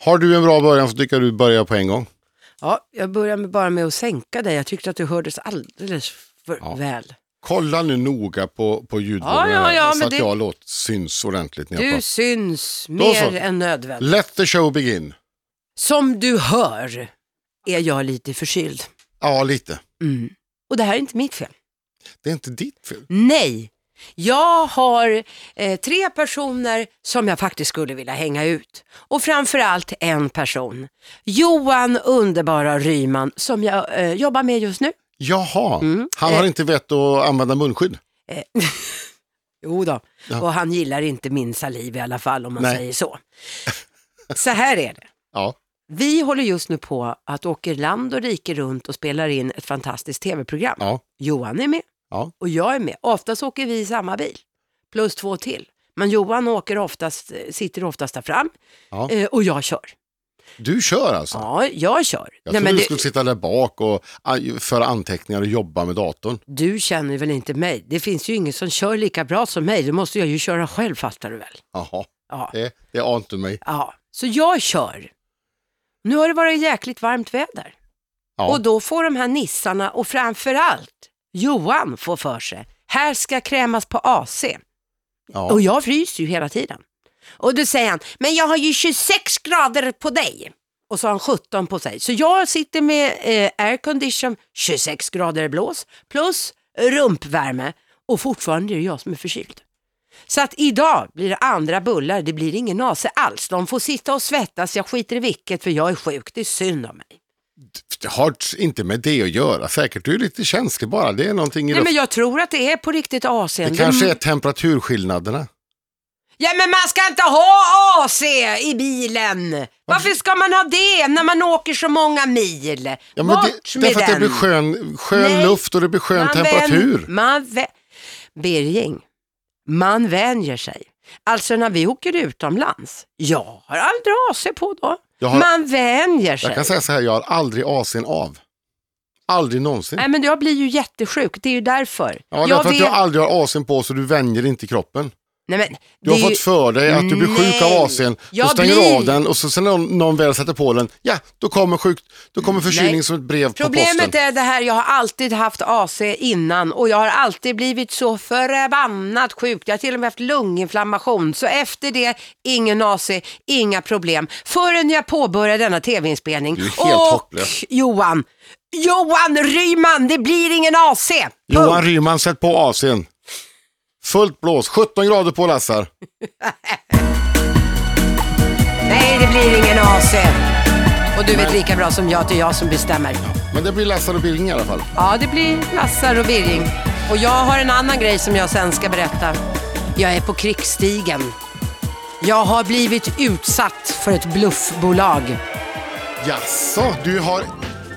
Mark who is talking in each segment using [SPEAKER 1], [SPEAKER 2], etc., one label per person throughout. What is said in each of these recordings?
[SPEAKER 1] Har du en bra början så tycker jag du börjar på en gång.
[SPEAKER 2] Ja, jag börjar med, bara med att sänka dig. Jag tyckte att du hördes alldeles för
[SPEAKER 1] Ja.
[SPEAKER 2] väl.
[SPEAKER 1] Kolla nu noga på, på ljudvågorna
[SPEAKER 2] Ja, ja,
[SPEAKER 1] här,
[SPEAKER 2] ja,
[SPEAKER 1] så
[SPEAKER 2] men
[SPEAKER 1] att
[SPEAKER 2] det-
[SPEAKER 1] jag låt, syns ordentligt när jag
[SPEAKER 2] Du
[SPEAKER 1] pratar.
[SPEAKER 2] syns
[SPEAKER 1] så.
[SPEAKER 2] mer än nödvändigt.
[SPEAKER 1] Let the show begin.
[SPEAKER 2] Som du hör är jag lite förkyld.
[SPEAKER 1] Ja, lite.
[SPEAKER 2] Mm. Och det här är inte mitt fel.
[SPEAKER 1] Det är inte ditt fel.
[SPEAKER 2] Nej, jag har eh, tre personer som jag faktiskt skulle vilja hänga ut. Och framförallt en person. Johan underbara Ryman som jag eh, jobbar med just nu.
[SPEAKER 1] Jaha,
[SPEAKER 2] Mm.
[SPEAKER 1] han har inte vett att använda munskydd.
[SPEAKER 2] Eh, jo då.
[SPEAKER 1] Ja.
[SPEAKER 2] och han gillar inte min saliv i alla fall om man
[SPEAKER 1] Nej.
[SPEAKER 2] säger så. Så här är det.
[SPEAKER 1] Ja.
[SPEAKER 2] Vi håller just nu på att åka land och rike runt och spelar in ett fantastiskt tv-program.
[SPEAKER 1] Ja.
[SPEAKER 2] Johan är med
[SPEAKER 1] Ja.
[SPEAKER 2] och jag är med. Oftast åker vi i samma bil, plus två till. Men Johan åker oftast, sitter oftast där fram
[SPEAKER 1] Ja.
[SPEAKER 2] eh, och jag kör.
[SPEAKER 1] Du kör alltså?
[SPEAKER 2] Ja, jag kör.
[SPEAKER 1] Jag
[SPEAKER 2] Nej,
[SPEAKER 1] trodde
[SPEAKER 2] men
[SPEAKER 1] du
[SPEAKER 2] det,
[SPEAKER 1] skulle sitta där bak och an- föra anteckningar och jobba med datorn.
[SPEAKER 2] du känner väl inte mig? Det finns ju ingen som kör lika bra som mig. Då måste jag ju köra själv fattar du väl?
[SPEAKER 1] Jaha,
[SPEAKER 2] Ja.
[SPEAKER 1] det, det ante mig.
[SPEAKER 2] Ja, så jag kör. Nu har det varit jäkligt varmt väder.
[SPEAKER 1] Ja.
[SPEAKER 2] Och då får de här nissarna och framförallt Johan får för sig, här ska krämas på AC.
[SPEAKER 1] Ja.
[SPEAKER 2] Och jag fryser ju hela tiden. Och då säger han, men jag har ju 26 grader på dig. Och så har han 17 på sig. Så jag sitter med eh, aircondition, 26 grader i blås, plus rumpvärme. Och fortfarande är det jag som är förkyld. Så att idag blir det andra bullar, det blir ingen AC alls. De får sitta och svettas, jag skiter i vilket för jag är sjuk, det är synd om mig.
[SPEAKER 1] Det har t- inte med det att göra säkert. Du är lite känslig bara. Det är någonting i
[SPEAKER 2] Nej men
[SPEAKER 1] luften.
[SPEAKER 2] jag tror att det är på riktigt AC.
[SPEAKER 1] Det kanske är temperaturskillnaderna.
[SPEAKER 2] Ja men man ska inte ha AC i bilen! Varför ska man ha det när man åker så många mil?
[SPEAKER 1] Ja, men
[SPEAKER 2] Bort
[SPEAKER 1] det,
[SPEAKER 2] med
[SPEAKER 1] därför att det
[SPEAKER 2] den!
[SPEAKER 1] blir skön, skön
[SPEAKER 2] Nej.
[SPEAKER 1] luft och det blir skön
[SPEAKER 2] Man
[SPEAKER 1] temperatur.
[SPEAKER 2] Vän, man vä- Birging, man vänjer sig. Alltså när vi åker utomlands, jag har aldrig AC på då.
[SPEAKER 1] Jag har-
[SPEAKER 2] Man vänjer sig.
[SPEAKER 1] Jag kan säga så här, jag har aldrig AC'n av. Aldrig någonsin.
[SPEAKER 2] Nej men jag blir ju jättesjuk, det är ju därför.
[SPEAKER 1] ja,
[SPEAKER 2] jag
[SPEAKER 1] därför att du aldrig har AC'n på så du vänjer inte kroppen.
[SPEAKER 2] Nej, men,
[SPEAKER 1] Du har
[SPEAKER 2] det är ju-
[SPEAKER 1] fått för dig att du blir sjuk av
[SPEAKER 2] Nej.
[SPEAKER 1] AC'n, så
[SPEAKER 2] Jag
[SPEAKER 1] stänger du
[SPEAKER 2] blir-
[SPEAKER 1] av den och så sen någon, någon väl sätter på den, ja då kommer, sjuk, då kommer förkylning
[SPEAKER 2] Nej.
[SPEAKER 1] som ett brev på
[SPEAKER 2] Problemet
[SPEAKER 1] posten.
[SPEAKER 2] är det här, jag har alltid haft AC innan och jag har alltid blivit så förbannat sjuk. Jag har till och med haft lunginflammation. Så efter det, ingen AC, inga problem. Förrän jag påbörjade denna tv-inspelning.
[SPEAKER 1] Du är helt
[SPEAKER 2] och
[SPEAKER 1] hopplös.
[SPEAKER 2] Johan, Johan Ryman, det blir ingen AC! Punkt.
[SPEAKER 1] Johan Ryman, sätt på AC'n. Fullt blås, 17 grader på Lassar.
[SPEAKER 2] Nej, det blir ingen AC. Och du vet lika bra som jag att det är jag som bestämmer.
[SPEAKER 1] Men det blir Lassar och Birging i alla fall.
[SPEAKER 2] Ja, det blir Lassar och Birging. Och jag har en annan grej som jag sen ska berätta. Jag är på krigsstigen. Jag har blivit utsatt för ett bluffbolag.
[SPEAKER 1] Jaså, du har...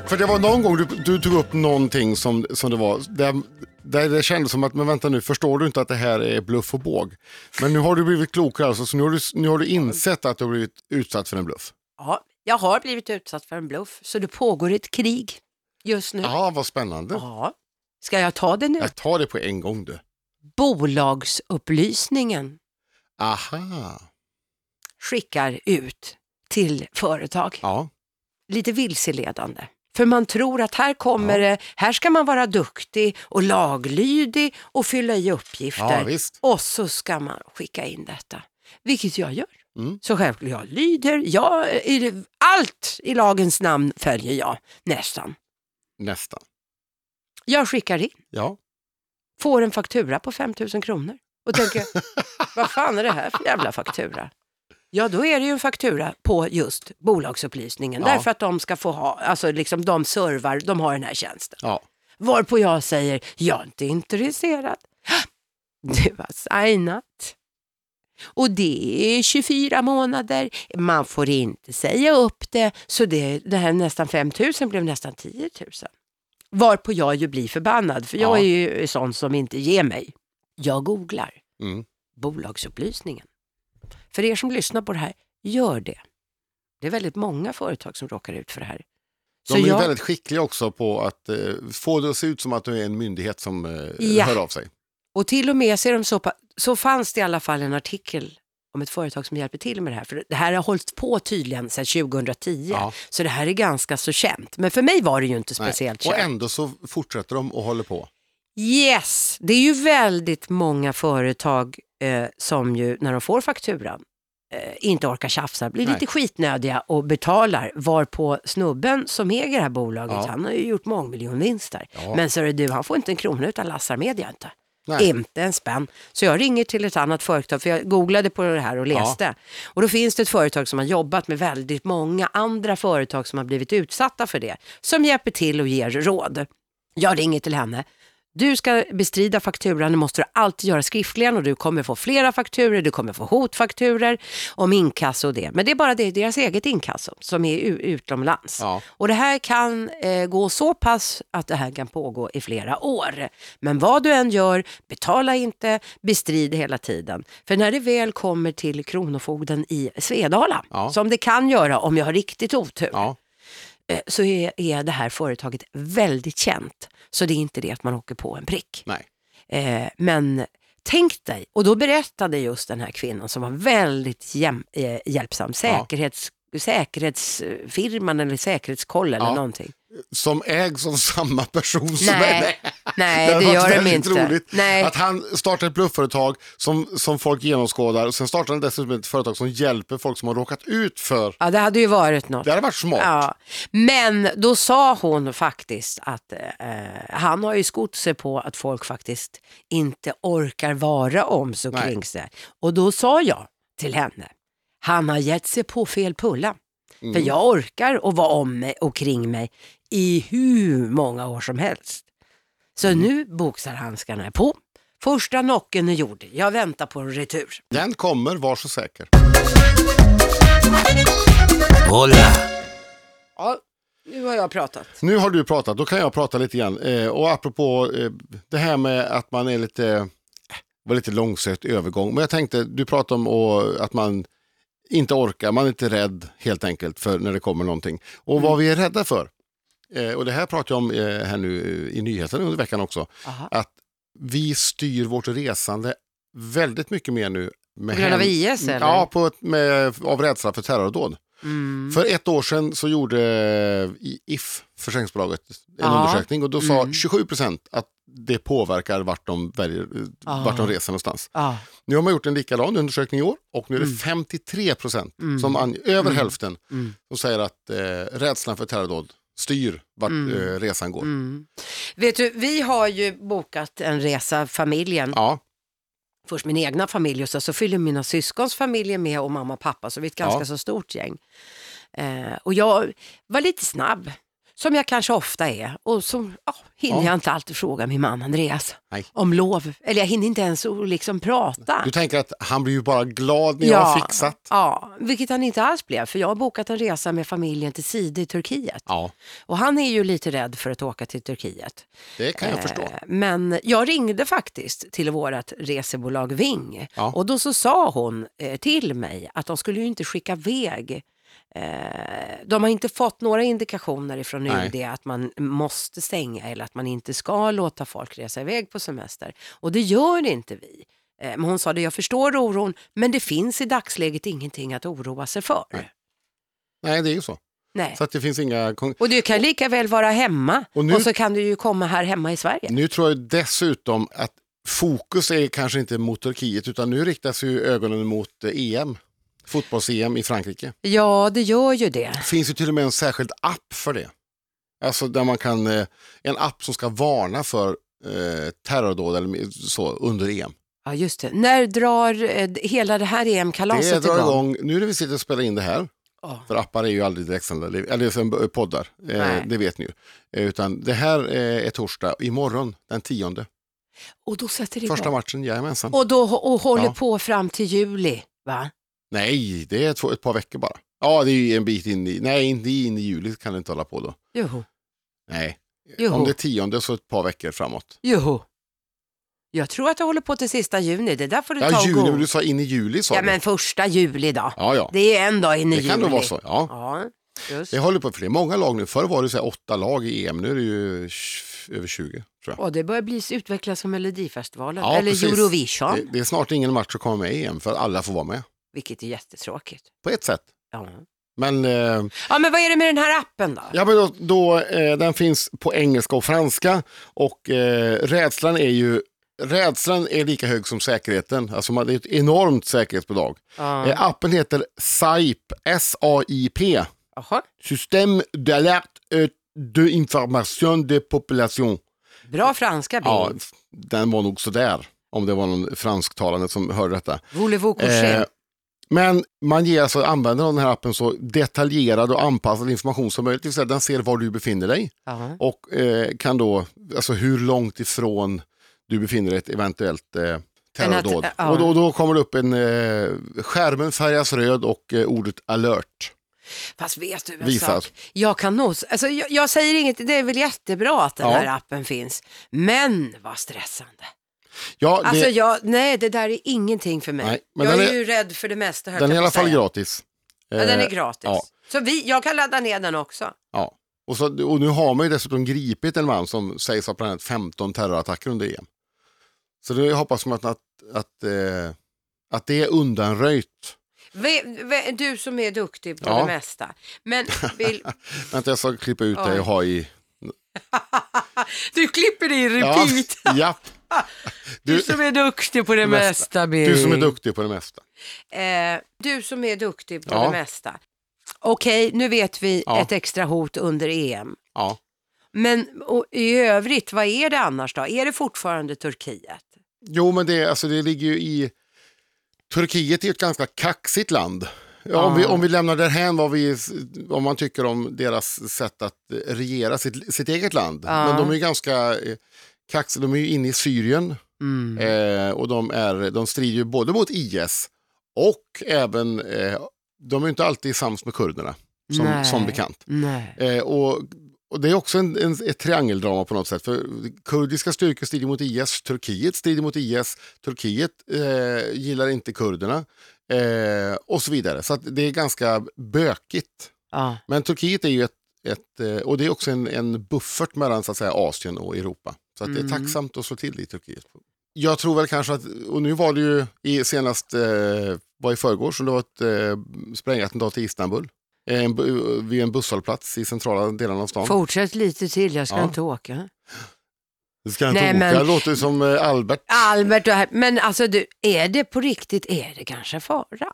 [SPEAKER 1] För det var någon gång du, du tog upp någonting som, som det var, där, där det kändes som att, men vänta nu, förstår du inte att det här är bluff och båg? Men nu har du blivit klokare alltså, så nu har, du, nu har du insett att du har blivit utsatt för en bluff.
[SPEAKER 2] Ja, jag har blivit utsatt för en bluff, så det pågår ett krig just nu.
[SPEAKER 1] Ja, Ah, vad spännande.
[SPEAKER 2] Ja. Ska jag ta det nu?
[SPEAKER 1] Jag tar det på en gång du.
[SPEAKER 2] Bolagsupplysningen
[SPEAKER 1] Aha.
[SPEAKER 2] skickar ut till företag.
[SPEAKER 1] Ja,
[SPEAKER 2] lite vilseledande. För man tror att här kommer det, här ska man vara duktig och laglydig och fylla i uppgifter.
[SPEAKER 1] ja visst.
[SPEAKER 2] och så ska man skicka in detta, vilket jag gör.
[SPEAKER 1] Mm.
[SPEAKER 2] Så självklart, jag lyder, jag, eh, i- allt i lagens namn följer jag nästan.
[SPEAKER 1] Nästan.
[SPEAKER 2] Jag skickar in,
[SPEAKER 1] Ja.
[SPEAKER 2] får en faktura på 5 000 kronor och tänker, vad fan är det här för jävla faktura? Ja, då är det ju en faktura på just bolagsupplysningen,
[SPEAKER 1] Ja.
[SPEAKER 2] därför att de ska få ha, alltså liksom de servar, de har den här tjänsten.
[SPEAKER 1] ja.
[SPEAKER 2] Varpå jag säger, jag är inte intresserad. Du har signat. Och det är 24 månader, man får inte säga upp det, så det, det här nästan 5 000 blev nästan 10 000. Varpå jag ju blir förbannad, för jag
[SPEAKER 1] Ja.
[SPEAKER 2] är ju sån som inte ger mig. Jag googlar
[SPEAKER 1] Mm.
[SPEAKER 2] bolagsupplysningen. För er som lyssnar på det här, gör det. Det är väldigt många företag som råkar ut för det här.
[SPEAKER 1] De är ju väldigt skickliga också på att eh, få det att se ut som att du är en myndighet som eh,
[SPEAKER 2] Ja.
[SPEAKER 1] hör av sig.
[SPEAKER 2] Och till och med så, är de så, pa- så fanns det i alla fall en artikel om ett företag som hjälper till med det här. För det här har hållit på tydligen sedan 2010.
[SPEAKER 1] Ja.
[SPEAKER 2] Så det här är ganska så känt. Men för mig var det ju inte
[SPEAKER 1] Nej.
[SPEAKER 2] speciellt
[SPEAKER 1] Och
[SPEAKER 2] känt.
[SPEAKER 1] ändå så fortsätter de och håller på.
[SPEAKER 2] Yes, det är ju väldigt många företag eh, som ju när de får fakturan eh, inte orkar tjafsa, blir
[SPEAKER 1] Nej.
[SPEAKER 2] lite skitnödiga och betalar. Varpå snubben som äger det här bolaget,
[SPEAKER 1] Ja.
[SPEAKER 2] han har ju gjort mångmiljonvinster.
[SPEAKER 1] Ja.
[SPEAKER 2] Men så är det du, han får inte en krona utan Lassar Media inte.
[SPEAKER 1] Nej.
[SPEAKER 2] Inte en spänn. Så jag ringer till ett annat företag, för jag googlade på det här och läste. Och då finns det ett företag som har jobbat med väldigt många andra företag som har blivit utsatta för det, som hjälper till och ger råd. Jag ringer till henne. Du ska bestrida fakturan, det måste du alltid göra skriftligen och du kommer få flera fakturer, du kommer få hotfakturer om inkasso och det. Men det är bara det, deras eget inkasso som är u- utomlands.
[SPEAKER 1] Ja.
[SPEAKER 2] Och det här kan eh, gå så pass att det här kan pågå i flera år. Men vad du än gör, betala inte, bestrid hela tiden. För när det väl kommer till Kronofogden i Svedala,
[SPEAKER 1] Ja.
[SPEAKER 2] som det kan göra om jag har riktigt otur,
[SPEAKER 1] Ja.
[SPEAKER 2] eh, så är, är det här företaget väldigt känt. Så det är inte det att man åker på en prick.
[SPEAKER 1] Nej.
[SPEAKER 2] Eh, men tänk dig, och då berättade just den här kvinnan som var väldigt jäm, eh, hjälpsam, säkerhets, säkerhetsfirman eller säkerhetskoll eller
[SPEAKER 1] Ja.
[SPEAKER 2] någonting.
[SPEAKER 1] Som ägs av samma person som är
[SPEAKER 2] Nej, nej
[SPEAKER 1] hade
[SPEAKER 2] det
[SPEAKER 1] varit
[SPEAKER 2] gör de
[SPEAKER 1] väldigt
[SPEAKER 2] inte.
[SPEAKER 1] Roligt
[SPEAKER 2] Nej.
[SPEAKER 1] Att han startar ett bluffföretag som, som folk genomskådar och sen startar han dessutom ett företag som hjälper folk som har råkat ut för.
[SPEAKER 2] Ja, det hade ju varit något.
[SPEAKER 1] Det hade varit smart.
[SPEAKER 2] Ja. Men då sa hon faktiskt att eh, han har ju skott sig på att folk faktiskt inte orkar vara om så
[SPEAKER 1] Nej.
[SPEAKER 2] kring sig. Och då sa jag till henne, han har gett sig på fel pulla.
[SPEAKER 1] Mm.
[SPEAKER 2] För jag orkar att vara om mig och kring mig i hur många år som helst. Så
[SPEAKER 1] Mm.
[SPEAKER 2] nu boxarhandskarna är på. Första nocken är gjord. Jag väntar på en retur.
[SPEAKER 1] Den kommer, var så säker.
[SPEAKER 2] Ja, nu har jag pratat.
[SPEAKER 1] Nu har du pratat, då kan jag prata lite grann. Eh, och apropå eh, det här med att man är lite, eh, var lite långsökt övergång. Men jag tänkte, du pratade om och, att man inte orkar, man är inte rädd helt enkelt för när det kommer någonting. Och vad
[SPEAKER 2] Mm.
[SPEAKER 1] vi är rädda för, eh, och det här pratade jag om eh, här nu eh, i nyheten under veckan också,
[SPEAKER 2] Aha.
[SPEAKER 1] att vi styr vårt resande väldigt mycket mer nu. Med
[SPEAKER 2] På grund av
[SPEAKER 1] hän-
[SPEAKER 2] IS, eller?
[SPEAKER 1] Ja, på ett, med, av rädsla för terrordåd.
[SPEAKER 2] Mm.
[SPEAKER 1] För ett år sedan så gjorde eh, If, försäkringsbolaget, en
[SPEAKER 2] Ja.
[SPEAKER 1] undersökning och då sa
[SPEAKER 2] Mm.
[SPEAKER 1] 27 procent att det påverkar vart de, väljer, eh,
[SPEAKER 2] Ja.
[SPEAKER 1] vart de reser någonstans.
[SPEAKER 2] Ja.
[SPEAKER 1] Nu har man gjort en likadan undersökning i år och nu är det 53 procent,
[SPEAKER 2] Mm.
[SPEAKER 1] som ange, över hälften,
[SPEAKER 2] Mm.
[SPEAKER 1] som säger att eh, rädslan för terrordåd styr vart
[SPEAKER 2] Mm.
[SPEAKER 1] eh, resan går.
[SPEAKER 2] Mm. Vet du, vi har ju bokat en resa, familjen.
[SPEAKER 1] Ja,
[SPEAKER 2] Först min egna familj och sen så fyller mina syskons familjer med och mamma och pappa. Så vi är ett ganska
[SPEAKER 1] Ja.
[SPEAKER 2] så stort gäng. Eh, och jag var lite snabb, som jag kanske ofta är. Och så ja, hinner
[SPEAKER 1] Ja.
[SPEAKER 2] jag inte alltid fråga min man Andreas
[SPEAKER 1] Nej.
[SPEAKER 2] om lov. Eller jag hinner inte ens att liksom prata.
[SPEAKER 1] du tänker att han blir ju bara glad när jag har fixat.
[SPEAKER 2] Ja, vilket han inte alls blev. För jag har bokat en resa med familjen till Side i Turkiet.
[SPEAKER 1] Ja,
[SPEAKER 2] Och han är ju lite rädd för att åka till Turkiet.
[SPEAKER 1] det kan jag förstå.
[SPEAKER 2] Eh, Men jag ringde faktiskt till vårt resebolag Ving
[SPEAKER 1] Ja.
[SPEAKER 2] och då så sa hon eh, till mig att de skulle ju inte skicka iväg Eh, de har inte fått några indikationer ifrån
[SPEAKER 1] Nej.
[SPEAKER 2] UD att man måste stänga eller att man inte ska låta folk resa iväg på semester. Och det gör inte vi. Eh, men hon sa det, jag förstår oron, men det finns i dagsläget ingenting att oroa sig för.
[SPEAKER 1] Nej. Nej, det är ju så.
[SPEAKER 2] Nej.
[SPEAKER 1] Så att det finns inga... kon-
[SPEAKER 2] Och du kan lika väl vara hemma
[SPEAKER 1] Och
[SPEAKER 2] och,
[SPEAKER 1] nu-
[SPEAKER 2] så kan du ju komma här hemma i Sverige.
[SPEAKER 1] Nu tror jag dessutom att fokus är kanske inte mot Turkiet utan nu riktas ju ögonen mot eh, EM, fotbolls-EM i Frankrike.
[SPEAKER 2] Ja, det gör ju det.
[SPEAKER 1] Det finns ju till och med en särskild app för det. Alltså där man kan, eh, en app som ska varna för eh, terrordåd eller så under E EM.
[SPEAKER 2] Ja, just det. När drar eh, hela det här
[SPEAKER 1] Det
[SPEAKER 2] EM-kalaset
[SPEAKER 1] drar
[SPEAKER 2] igång?
[SPEAKER 1] igång, nu när vi sitter och spelar in det här,
[SPEAKER 2] Ja.
[SPEAKER 1] för appar är ju aldrig direktsända, eller för poddar, eh,
[SPEAKER 2] Nej.
[SPEAKER 1] det vet ni ju. Eh, utan det här eh, är torsdag, imorgon den tionde,
[SPEAKER 2] Och då sätter det
[SPEAKER 1] första
[SPEAKER 2] igång.
[SPEAKER 1] matchen, jajamensan.
[SPEAKER 2] Och då hå- och håller
[SPEAKER 1] Ja.
[SPEAKER 2] på fram till juli, va?
[SPEAKER 1] Nej, det är två, ett par veckor bara. Ja, det är ju en bit in i, nej inte in i juli kan det inte hålla på då.
[SPEAKER 2] Joho,
[SPEAKER 1] Nej,
[SPEAKER 2] joho,
[SPEAKER 1] om det är tionde så ett par veckor framåt.
[SPEAKER 2] joho. Jag tror att det håller på till sista juni. Det där får du ta
[SPEAKER 1] Ja,
[SPEAKER 2] och
[SPEAKER 1] juni,
[SPEAKER 2] googla.
[SPEAKER 1] men du sa in i juli sa
[SPEAKER 2] Ja,
[SPEAKER 1] du.
[SPEAKER 2] men första juli då.
[SPEAKER 1] Ja, ja,
[SPEAKER 2] Det är en dag in i
[SPEAKER 1] det
[SPEAKER 2] juli.
[SPEAKER 1] kan då vara så. Ja.
[SPEAKER 2] Ja, just.
[SPEAKER 1] Det håller på för det är många lag nu. Förr var det så här åtta lag i EM, nu är det ju tj- över 20 tror jag.
[SPEAKER 2] Och det börjar bli utvecklas som Melodifestivalen,
[SPEAKER 1] Ja,
[SPEAKER 2] eller
[SPEAKER 1] precis.
[SPEAKER 2] Eurovision.
[SPEAKER 1] Det, det är snart ingen match att komma med i EM för alla får vara med.
[SPEAKER 2] Vilket är jättetråkigt.
[SPEAKER 1] på ett sätt.
[SPEAKER 2] Ja.
[SPEAKER 1] Men, eh,
[SPEAKER 2] ja men vad är det med den här appen då?
[SPEAKER 1] ja, men då, då, eh, den finns på engelska och franska och eh, rädslan är ju Rädslan är lika hög som säkerheten, alltså man, det är ett enormt säkerhetsbolag.
[SPEAKER 2] Ja.
[SPEAKER 1] Eh, appen heter SAIP, S-A-I-P,
[SPEAKER 2] Jaha,
[SPEAKER 1] System d'alerte eh, de information de population.
[SPEAKER 2] bra franska bil.
[SPEAKER 1] Ja,
[SPEAKER 2] Ja.
[SPEAKER 1] f- den var nog sådär, om det var någon fransktalande som hörde detta.
[SPEAKER 2] Voulez-vous
[SPEAKER 1] Eh,
[SPEAKER 2] coucher?
[SPEAKER 1] Men man ger alltså användaren av den här appen så detaljerad och anpassad information som möjligt. Det vill säga den ser var du befinner dig
[SPEAKER 2] Ja.
[SPEAKER 1] och eh, kan då, alltså hur långt ifrån du befinner dig ett eventuellt eh, terrordåd.
[SPEAKER 2] En att- ja.
[SPEAKER 1] Och då, då kommer det upp en, eh, skärmen färgas röd och eh, ordet alert.
[SPEAKER 2] Fast vet du en
[SPEAKER 1] Visas.
[SPEAKER 2] sak? Jag kan nog, alltså jag, jag säger inget, det är väl jättebra att den
[SPEAKER 1] Ja.
[SPEAKER 2] här appen finns. Men vad stressande.
[SPEAKER 1] Ja,
[SPEAKER 2] Alltså
[SPEAKER 1] det,
[SPEAKER 2] jag, nej det där är ingenting för mig.
[SPEAKER 1] Nej, men
[SPEAKER 2] jag
[SPEAKER 1] den
[SPEAKER 2] är
[SPEAKER 1] är-
[SPEAKER 2] ju rädd för det mesta höll
[SPEAKER 1] den är i
[SPEAKER 2] jag på
[SPEAKER 1] alla
[SPEAKER 2] att
[SPEAKER 1] fall
[SPEAKER 2] säga.
[SPEAKER 1] gratis.
[SPEAKER 2] Ja, den
[SPEAKER 1] Eh,
[SPEAKER 2] är gratis.
[SPEAKER 1] ja.
[SPEAKER 2] Så vi, jag kan ladda ner den också.
[SPEAKER 1] Ja. Och, så, och nu har man ju dessutom gripit en man som sägs ha planerat 15 terrorattacker under EM. Så det hoppas man att, att, att, eh, att det är undanröjt.
[SPEAKER 2] Ve- ve- Du som är duktig på
[SPEAKER 1] Ja.
[SPEAKER 2] det mesta. Men vill,
[SPEAKER 1] Vänta jag ska klippa ut
[SPEAKER 2] Oj.
[SPEAKER 1] dig och ha i...
[SPEAKER 2] du klipper det i repeat.
[SPEAKER 1] ja.
[SPEAKER 2] Du,
[SPEAKER 1] Du,
[SPEAKER 2] som är duktig på det
[SPEAKER 1] mesta.
[SPEAKER 2] mesta, Birger.
[SPEAKER 1] du som är duktig på det mesta.
[SPEAKER 2] Eh, du som är duktig på
[SPEAKER 1] Ja.
[SPEAKER 2] det mesta. Okej, nu vet vi
[SPEAKER 1] Ja.
[SPEAKER 2] ett extra hot under EM.
[SPEAKER 1] Ja.
[SPEAKER 2] Men och, i övrigt, vad är det annars då? Är det fortfarande Turkiet?
[SPEAKER 1] Jo men det, alltså, det ligger ju i... Turkiet är ett ganska kaxigt land. Ja, om, vi, om vi lämnar därhän vad, vi, vad man tycker om deras sätt att regera sitt, sitt eget land.
[SPEAKER 2] Ja.
[SPEAKER 1] Men de är ju ganska eh, kaxiga, de är ju inne i Syrien
[SPEAKER 2] Mm.
[SPEAKER 1] eh, och de, är, de strider ju både mot IS och även, eh, de är ju inte alltid sams med kurderna som,
[SPEAKER 2] Nej.
[SPEAKER 1] som bekant.
[SPEAKER 2] Nej.
[SPEAKER 1] Eh, och, och det är också en, en, ett triangeldrama på något sätt. För kurdiska styrkor strider mot IS, Turkiet strider mot IS, Turkiet eh, gillar inte kurderna eh, och så vidare. Så att det är ganska bökigt.
[SPEAKER 2] Ja.
[SPEAKER 1] Men Turkiet är ju ett, ett eh, och det är också en, en buffert mellan så att säga, Asien och Europa. Så att det är
[SPEAKER 2] Mm.
[SPEAKER 1] tacksamt att slå till i Turkiet. Jag tror väl kanske att, och nu var det ju i senast, eh, var i förrgår, som det var ett eh, sprängattentat i Istanbul. Eh, En, bu- vid en busshållplats i centrala delarna av stan.
[SPEAKER 2] Fortsätt lite till, jag ska
[SPEAKER 1] Ja.
[SPEAKER 2] inte åka.
[SPEAKER 1] Du ska inte
[SPEAKER 2] Nej,
[SPEAKER 1] åka,
[SPEAKER 2] men-
[SPEAKER 1] det låter som eh, Albert.
[SPEAKER 2] Albert, du är här. men alltså du, är det på riktigt, är det kanske fara?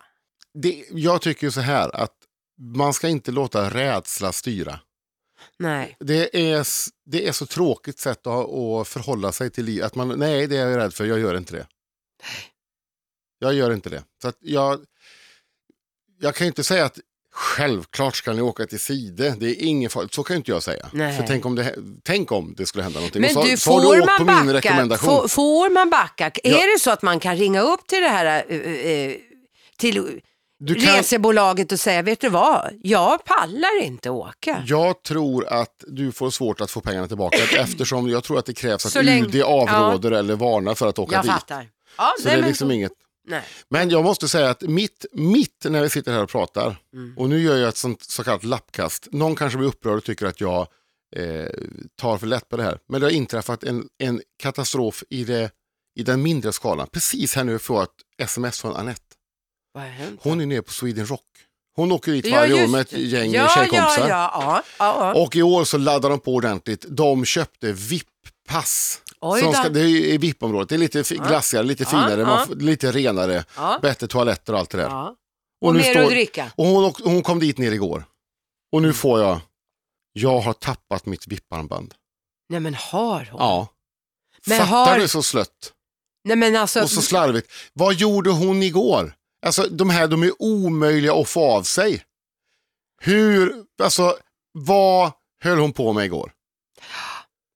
[SPEAKER 1] Det, jag tycker ju så här att man ska inte låta rädsla styra.
[SPEAKER 2] Nej.
[SPEAKER 1] Det är, s- det är så tråkigt sätt att, ha- att förhålla sig till livet. Att man, nej, det är jag rädd för, jag gör inte det. Jag gör inte det. Så att jag, jag kan ju inte säga att självklart ska ni åka till Side, det är ingen fara. Så kan ju inte jag säga.
[SPEAKER 2] Nej.
[SPEAKER 1] För tänk om, det, tänk om det skulle hända någonting.
[SPEAKER 2] Men
[SPEAKER 1] Och så,
[SPEAKER 2] du,
[SPEAKER 1] så har du åkt
[SPEAKER 2] får
[SPEAKER 1] på
[SPEAKER 2] man
[SPEAKER 1] min
[SPEAKER 2] backa?
[SPEAKER 1] rekommendation.
[SPEAKER 2] Får, får man backa?
[SPEAKER 1] Ja.
[SPEAKER 2] Är det så att man kan ringa upp till det här eh, eh, till
[SPEAKER 1] Du kan-
[SPEAKER 2] resebolaget och säga, vet du vad, jag pallar inte åka.
[SPEAKER 1] Jag tror att du får svårt att få pengarna tillbaka eftersom jag tror att det krävs att
[SPEAKER 2] Så länge-
[SPEAKER 1] UD avråder eller varnar för att åka
[SPEAKER 2] Jag
[SPEAKER 1] dit.
[SPEAKER 2] fattar. Ja,
[SPEAKER 1] Så
[SPEAKER 2] nej,
[SPEAKER 1] det är
[SPEAKER 2] men
[SPEAKER 1] liksom
[SPEAKER 2] så-
[SPEAKER 1] inget.
[SPEAKER 2] nej.
[SPEAKER 1] Men jag måste säga att mitt, mitt när vi sitter här och pratar,
[SPEAKER 2] Mm.
[SPEAKER 1] och nu gör jag ett sånt, så kallat lappkast, någon kanske blir upprörd och tycker att jag eh, tar för lätt på det här, men det har inträffat en, en katastrof i, det, i den mindre skalan. Precis här nu får jag ett sms från Anette.
[SPEAKER 2] Vad har hänt?
[SPEAKER 1] Hon är nere på Sweden Rock. Hon åker dit varje år
[SPEAKER 2] just
[SPEAKER 1] med ett
[SPEAKER 2] det.
[SPEAKER 1] gäng
[SPEAKER 2] ja,
[SPEAKER 1] tjejkompisar.
[SPEAKER 2] Ja, ja, ja. ja, ja.
[SPEAKER 1] Och i år så laddar de på ordentligt. De köpte VIP-pass.
[SPEAKER 2] Oj
[SPEAKER 1] Så de
[SPEAKER 2] då.
[SPEAKER 1] ska, det är ju i VIP-området. Det är lite fi- glassigare, lite finare,
[SPEAKER 2] ja.
[SPEAKER 1] man f- lite renare,
[SPEAKER 2] Ja.
[SPEAKER 1] bättre toaletter och allt det där.
[SPEAKER 2] ja.
[SPEAKER 1] Och,
[SPEAKER 2] Och
[SPEAKER 1] nu
[SPEAKER 2] mer
[SPEAKER 1] står-
[SPEAKER 2] att dricka.
[SPEAKER 1] Och hon, åk- hon kom dit ner igår. Och nu får jag, jag har tappat mitt VIP-armband.
[SPEAKER 2] Nej men har hon?
[SPEAKER 1] Ja.
[SPEAKER 2] Men
[SPEAKER 1] Fattar
[SPEAKER 2] har-
[SPEAKER 1] du så slött
[SPEAKER 2] Nej men alltså,
[SPEAKER 1] och så slarvigt. Vad gjorde hon igår? Alltså de här, de är omöjliga att få av sig. Hur, alltså vad höll hon på med igår?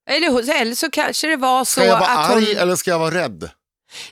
[SPEAKER 2] eller, hon- eller så kanske det var så
[SPEAKER 1] Ska jag vara
[SPEAKER 2] att hon...
[SPEAKER 1] arg eller ska jag vara rädd?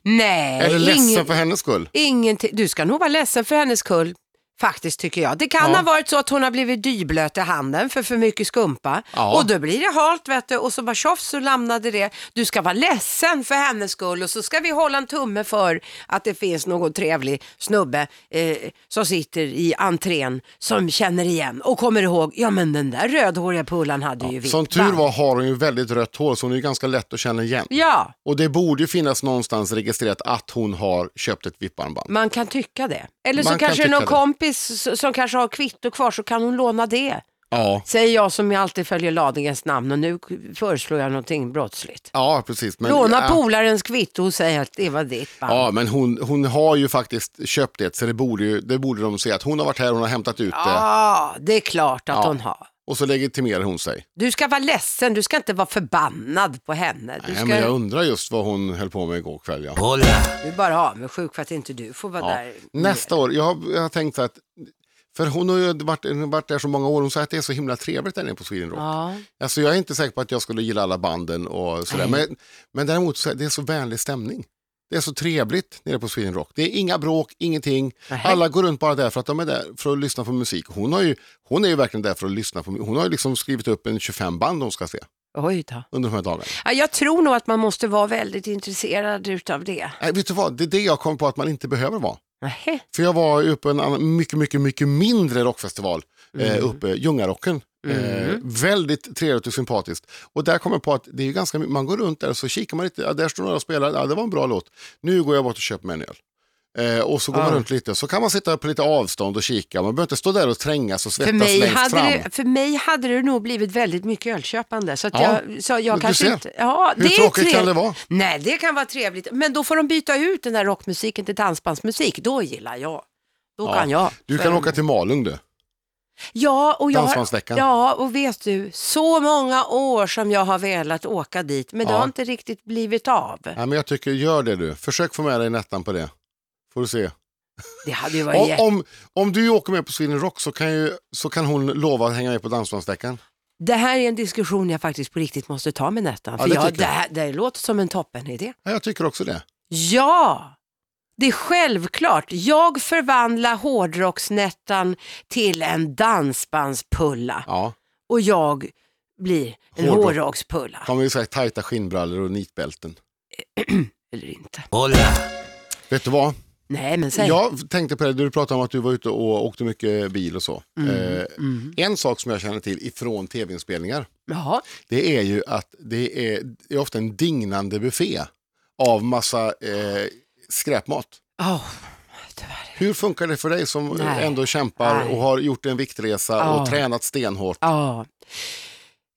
[SPEAKER 2] Nej,
[SPEAKER 1] Eller ledsen
[SPEAKER 2] ingen-
[SPEAKER 1] för hennes skull?
[SPEAKER 2] ingenting. Du ska nog vara ledsen för hennes skull. Faktiskt tycker jag. Det kan
[SPEAKER 1] Ja.
[SPEAKER 2] ha varit så att hon har blivit dyblöt i handen för för mycket skumpa.
[SPEAKER 1] Ja.
[SPEAKER 2] Och då blir det halt vet du och så bara tjoff så lämnade det. Du ska vara ledsen för hennes skull och så ska vi hålla en tumme för att det finns någon trevlig snubbe eh, som sitter i entrén som känner igen och kommer ihåg, ja men den där rödhåriga pullan hade ju vitt
[SPEAKER 1] Som tur
[SPEAKER 2] band."
[SPEAKER 1] var har hon ju väldigt rött hår så hon är ju ganska lätt att känna igen.
[SPEAKER 2] Ja,
[SPEAKER 1] Och det borde ju finnas någonstans registrerat att hon har köpt ett vipparband.
[SPEAKER 2] man kan tycka det. Eller så
[SPEAKER 1] Man kan
[SPEAKER 2] kanske det är någon
[SPEAKER 1] tycka det.
[SPEAKER 2] kompis s- som kanske har kvitto kvar så kan hon låna det.
[SPEAKER 1] Ja.
[SPEAKER 2] Säger jag som jag alltid följer laddningens namn och nu k- föreslår jag någonting brottsligt.
[SPEAKER 1] Ja, precis. Men,
[SPEAKER 2] Låna
[SPEAKER 1] ja.
[SPEAKER 2] polarens kvitto och säga att det var ditt band.
[SPEAKER 1] Ja, men hon, hon har ju faktiskt köpt det, så det borde, ju, det borde de se att hon har varit här, hon har hämtat ut det
[SPEAKER 2] Ja, Ah, det är klart att
[SPEAKER 1] Ja.
[SPEAKER 2] hon har.
[SPEAKER 1] och så legitimerar hon sig.
[SPEAKER 2] Du ska vara ledsen, du ska inte vara förbannad på henne. Du,
[SPEAKER 1] Nej,
[SPEAKER 2] ska,
[SPEAKER 1] men jag undrar just vad hon höll på med igår kväll. Ja.
[SPEAKER 2] du är bara avundsjuk för att inte du får vara
[SPEAKER 1] Ja.
[SPEAKER 2] där.
[SPEAKER 1] Nästa år, jag har, jag har tänkt så att, för hon har ju varit, varit där så många år, hon sa att det är så himla trevligt där nere på Sweden Rock.
[SPEAKER 2] Mm. Ja.
[SPEAKER 1] Alltså, jag är inte säker på att jag skulle gilla alla banden och sådär, men, men däremot så är det är så vänlig stämning. Det är så trevligt nere på Sweden Rock. Det är inga bråk, ingenting.
[SPEAKER 2] Nej.
[SPEAKER 1] Alla går runt bara där för att de är där för att lyssna på musik. Hon, har ju, hon är ju verkligen där för att lyssna på musik. Hon har ju liksom skrivit upp en 25 band hon ska se
[SPEAKER 2] Oj då.
[SPEAKER 1] under de här dagarna.
[SPEAKER 2] Ja, jag tror nog att man måste vara väldigt intresserad utav det.
[SPEAKER 1] Nej, Äh, vet du vad, det är det jag kom på att man inte behöver vara.
[SPEAKER 2] Nähä.
[SPEAKER 1] För jag var ju uppe på en annan, mycket, mycket, mycket mindre rockfestival eh,
[SPEAKER 2] Mm.
[SPEAKER 1] uppe, Ljungarocken. Eh, väldigt trevligt och sympatiskt. Och där kom jag på att det är ju ganska mycket, man går runt där och så kikar man lite, ja, där står några och spelar, ja, det var en bra låt, nu går jag bort och köper mig en öl. Eh, och så går man
[SPEAKER 2] Ja.
[SPEAKER 1] runt lite, så kan man sitta på lite avstånd och kika, man behöver inte stå där och trängas och
[SPEAKER 2] För
[SPEAKER 1] svettas
[SPEAKER 2] mig,
[SPEAKER 1] längst
[SPEAKER 2] hade
[SPEAKER 1] fram.
[SPEAKER 2] det, för mig hade det nog blivit väldigt mycket ölköpande. Så att
[SPEAKER 1] Ja.
[SPEAKER 2] jag, så
[SPEAKER 1] Men du
[SPEAKER 2] jag kanske
[SPEAKER 1] ser.
[SPEAKER 2] inte... Ja,
[SPEAKER 1] Hur
[SPEAKER 2] det är
[SPEAKER 1] tråkigt kan
[SPEAKER 2] trevligt.
[SPEAKER 1] det vara?
[SPEAKER 2] Nej, det kan vara trevligt. Men då får de byta ut den där rockmusiken till dansbandsmusik. Då gillar jag. Då
[SPEAKER 1] Ja.
[SPEAKER 2] kan jag.
[SPEAKER 1] Du kan
[SPEAKER 2] För-
[SPEAKER 1] åka till Malung du.
[SPEAKER 2] Ja, och jag har,
[SPEAKER 1] Dansbandsveckan.
[SPEAKER 2] ja, och vet du, så många år som jag har velat åka dit, men det
[SPEAKER 1] Ja.
[SPEAKER 2] har inte riktigt blivit av.
[SPEAKER 1] Ja, men jag tycker, gör det du. Försök få med dig Nettan på det. Får du se.
[SPEAKER 2] Det hade ju varit
[SPEAKER 1] Om,
[SPEAKER 2] jätte-
[SPEAKER 1] om, om du åker med på Sweden Rock så kan, ju, så kan hon lova att hänga med på Dansbandsveckan.
[SPEAKER 2] Det här är en diskussion jag faktiskt på riktigt måste ta med Nettan.
[SPEAKER 1] Ja,
[SPEAKER 2] För
[SPEAKER 1] det
[SPEAKER 2] jag,
[SPEAKER 1] tycker
[SPEAKER 2] det,
[SPEAKER 1] jag.
[SPEAKER 2] här, det här låter som en toppenidé.
[SPEAKER 1] Ja, jag tycker också det.
[SPEAKER 2] Ja, det är självklart. Jag förvandlar hårdrocksnättan till en dansbandspulla
[SPEAKER 1] Ja,
[SPEAKER 2] och jag blir en
[SPEAKER 1] Hårdrock.
[SPEAKER 2] hårdrockspulla.
[SPEAKER 1] kommer ju säga tajta skinnbrallor och nitbälten.
[SPEAKER 2] Eller inte.
[SPEAKER 1] Vet du vad?
[SPEAKER 2] Nej, men säg.
[SPEAKER 1] Jag tänkte på det, du pratade om att du var ute och åkte mycket bil och så.
[SPEAKER 2] Mm.
[SPEAKER 1] Eh, En sak som jag känner till ifrån tv-inspelningar,
[SPEAKER 2] Jaha.
[SPEAKER 1] det är ju att det är, det är ofta en dignande buffé av massa eh, skräpmat.
[SPEAKER 2] Åh, tyvärr.
[SPEAKER 1] Hur funkar det för dig som
[SPEAKER 2] Nej.
[SPEAKER 1] ändå kämpar
[SPEAKER 2] Nej.
[SPEAKER 1] och har gjort en viktresa
[SPEAKER 2] Ja.
[SPEAKER 1] och tränat stenhårt?
[SPEAKER 2] Ja.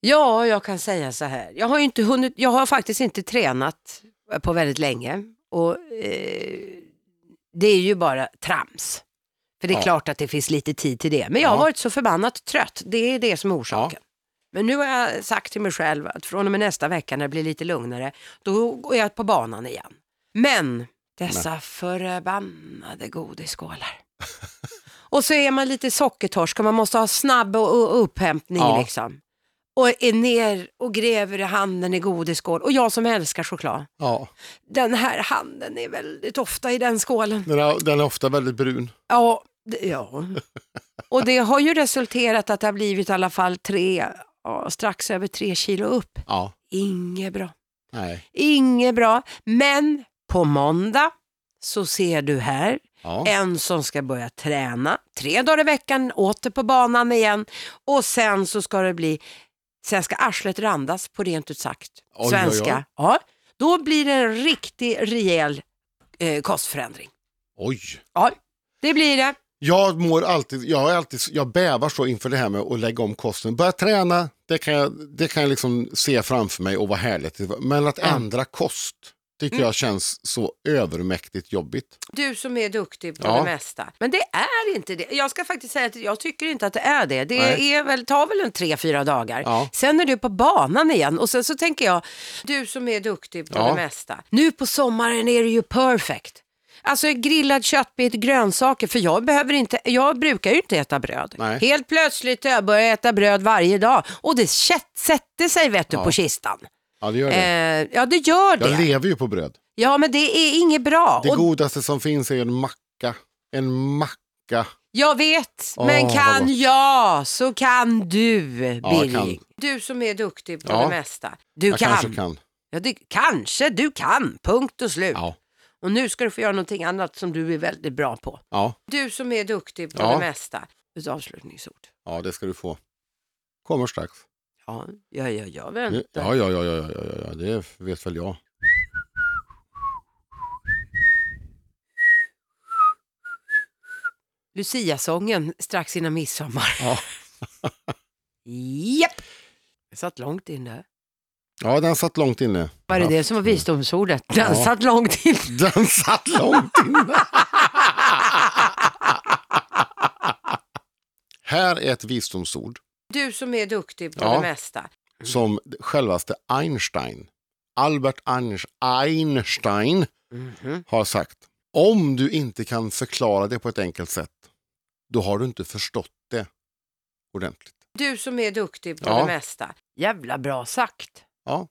[SPEAKER 2] ja, jag kan säga så här. Jag har, ju inte hunnit, jag har faktiskt inte tränat på väldigt länge. Och, eh, det är ju bara trams. För det är
[SPEAKER 1] Ja.
[SPEAKER 2] klart att det finns lite tid till det. Men jag har
[SPEAKER 1] Ja.
[SPEAKER 2] varit så förbannat trött. Det är det som är orsaken. Men nu har jag sagt till mig själv att från och med nästa vecka när det blir lite lugnare, då går jag på banan igen. Men dessa förbannade godisskålar. och så är man lite sockertorsk och man måste ha snabb och- och upphämtning
[SPEAKER 1] Ja.
[SPEAKER 2] liksom. Och är ner och gräver i handen i godisskål. Och jag som älskar choklad,
[SPEAKER 1] Ja.
[SPEAKER 2] den här handen är väldigt ofta i den skålen.
[SPEAKER 1] Den, är, den är ofta väldigt brun.
[SPEAKER 2] Ja, det, ja. Och det har ju resulterat att det har blivit i alla fall tre, ja, strax över tre kilo upp.
[SPEAKER 1] Ja.
[SPEAKER 2] Inget bra.
[SPEAKER 1] Nej.
[SPEAKER 2] Inget bra. Men på måndag så ser du här
[SPEAKER 1] Ja.
[SPEAKER 2] en som ska börja träna tre dagar i veckan, åter på banan igen och sen så ska det bli, sen ska arslet randas på rent ut sagt
[SPEAKER 1] Oj, oj, oj.
[SPEAKER 2] svenska. Ja, då blir det en riktig rejäl eh, kostförändring.
[SPEAKER 1] Oj.
[SPEAKER 2] Ja, det blir det.
[SPEAKER 1] Jag mår alltid, jag, är alltid, jag bävar så inför det här med att lägga om kosten. Börja träna, det kan jag, det kan jag liksom se framför mig och vad härligt. det var. Men att ändra kost tycker
[SPEAKER 2] Mm.
[SPEAKER 1] jag känns så övermäktigt jobbigt.
[SPEAKER 2] Du som är duktig på
[SPEAKER 1] Ja.
[SPEAKER 2] det mesta. Men det är inte det. Jag ska faktiskt säga att jag tycker inte att det är det. Det
[SPEAKER 1] Nej.
[SPEAKER 2] är väl, tar väl en tre, fyra dagar.
[SPEAKER 1] Ja.
[SPEAKER 2] Sen är du på banan igen och sen så tänker jag, du som är duktig på
[SPEAKER 1] Ja.
[SPEAKER 2] det mesta. Nu på sommaren är det ju perfect. Alltså grillad köttbit, grönsaker, för jag, behöver inte, jag brukar ju inte äta bröd.
[SPEAKER 1] Nej.
[SPEAKER 2] Helt plötsligt har jag börjat äta bröd varje dag och det kätt- sätter sig vet du, på kistan.
[SPEAKER 1] Ja, det gör det.
[SPEAKER 2] Eh, ja, det gör det.
[SPEAKER 1] jag lever ju på bröd.
[SPEAKER 2] Ja, men det är inget bra.
[SPEAKER 1] Det
[SPEAKER 2] Och-
[SPEAKER 1] godaste som finns är en macka. En macka
[SPEAKER 2] Jag vet, men
[SPEAKER 1] Åh, vad
[SPEAKER 2] kan
[SPEAKER 1] gott.
[SPEAKER 2] jag så kan du,
[SPEAKER 1] Ja, jag
[SPEAKER 2] Birging.
[SPEAKER 1] kan.
[SPEAKER 2] Du som är duktig på
[SPEAKER 1] Ja.
[SPEAKER 2] det mesta. Du
[SPEAKER 1] Jag
[SPEAKER 2] kan.
[SPEAKER 1] kanske kan.
[SPEAKER 2] Ja, du, kanske du kan, punkt och slut.
[SPEAKER 1] Ja.
[SPEAKER 2] Och nu ska du få göra någonting annat som du är väldigt bra på.
[SPEAKER 1] Ja.
[SPEAKER 2] Du som är duktig på
[SPEAKER 1] Ja.
[SPEAKER 2] det mesta. Ett avslutningsord.
[SPEAKER 1] ja, det ska du få. Kommer strax.
[SPEAKER 2] Ja, ja, ja, jag
[SPEAKER 1] Ja,
[SPEAKER 2] väntar.
[SPEAKER 1] Mm, ja, ja, ja, ja, ja, ja, det vet väl jag.
[SPEAKER 2] Lucia-sången strax innan midsommar.
[SPEAKER 1] Ja.
[SPEAKER 2] Japp! Jag satt långt inne.
[SPEAKER 1] Ja, den satt långt inne.
[SPEAKER 2] Var det det som var visdomsordet? Den satt långt inne.
[SPEAKER 1] Den satt långt inne. Här är ett visdomsord
[SPEAKER 2] Du som är duktig på
[SPEAKER 1] Ja.
[SPEAKER 2] det mesta.
[SPEAKER 1] som självaste Einstein, Albert Einst- Einstein,
[SPEAKER 2] Mhm.
[SPEAKER 1] har sagt. Om du inte kan förklara det på ett enkelt sätt, då har du inte förstått det ordentligt.
[SPEAKER 2] Du som är duktig på
[SPEAKER 1] Ja.
[SPEAKER 2] det mesta. Jävla bra sagt.
[SPEAKER 1] Ja.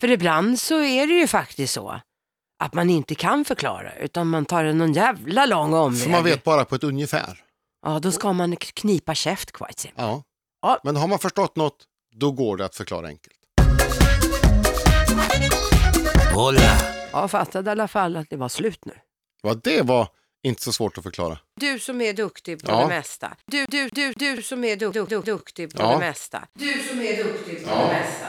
[SPEAKER 2] För ibland så är det ju faktiskt så att man inte kan förklara utan man tar en någon jävla lång omväg.
[SPEAKER 1] För man vet bara på ett ungefär.
[SPEAKER 2] Ja, då ska man k- knipa käft quite simpelt.
[SPEAKER 1] Ja.
[SPEAKER 2] Ja.
[SPEAKER 1] Men har man förstått något, då går det att förklara enkelt.
[SPEAKER 2] Jag fattade i alla fall att det var slut nu.
[SPEAKER 1] Ja, det var inte så svårt att förklara.
[SPEAKER 2] Du som är duktig på
[SPEAKER 1] Ja.
[SPEAKER 2] det mesta. Du, du, du, du som är du, du, du, duktig på
[SPEAKER 1] Ja.
[SPEAKER 2] det mesta. Du som är duktig på det mesta.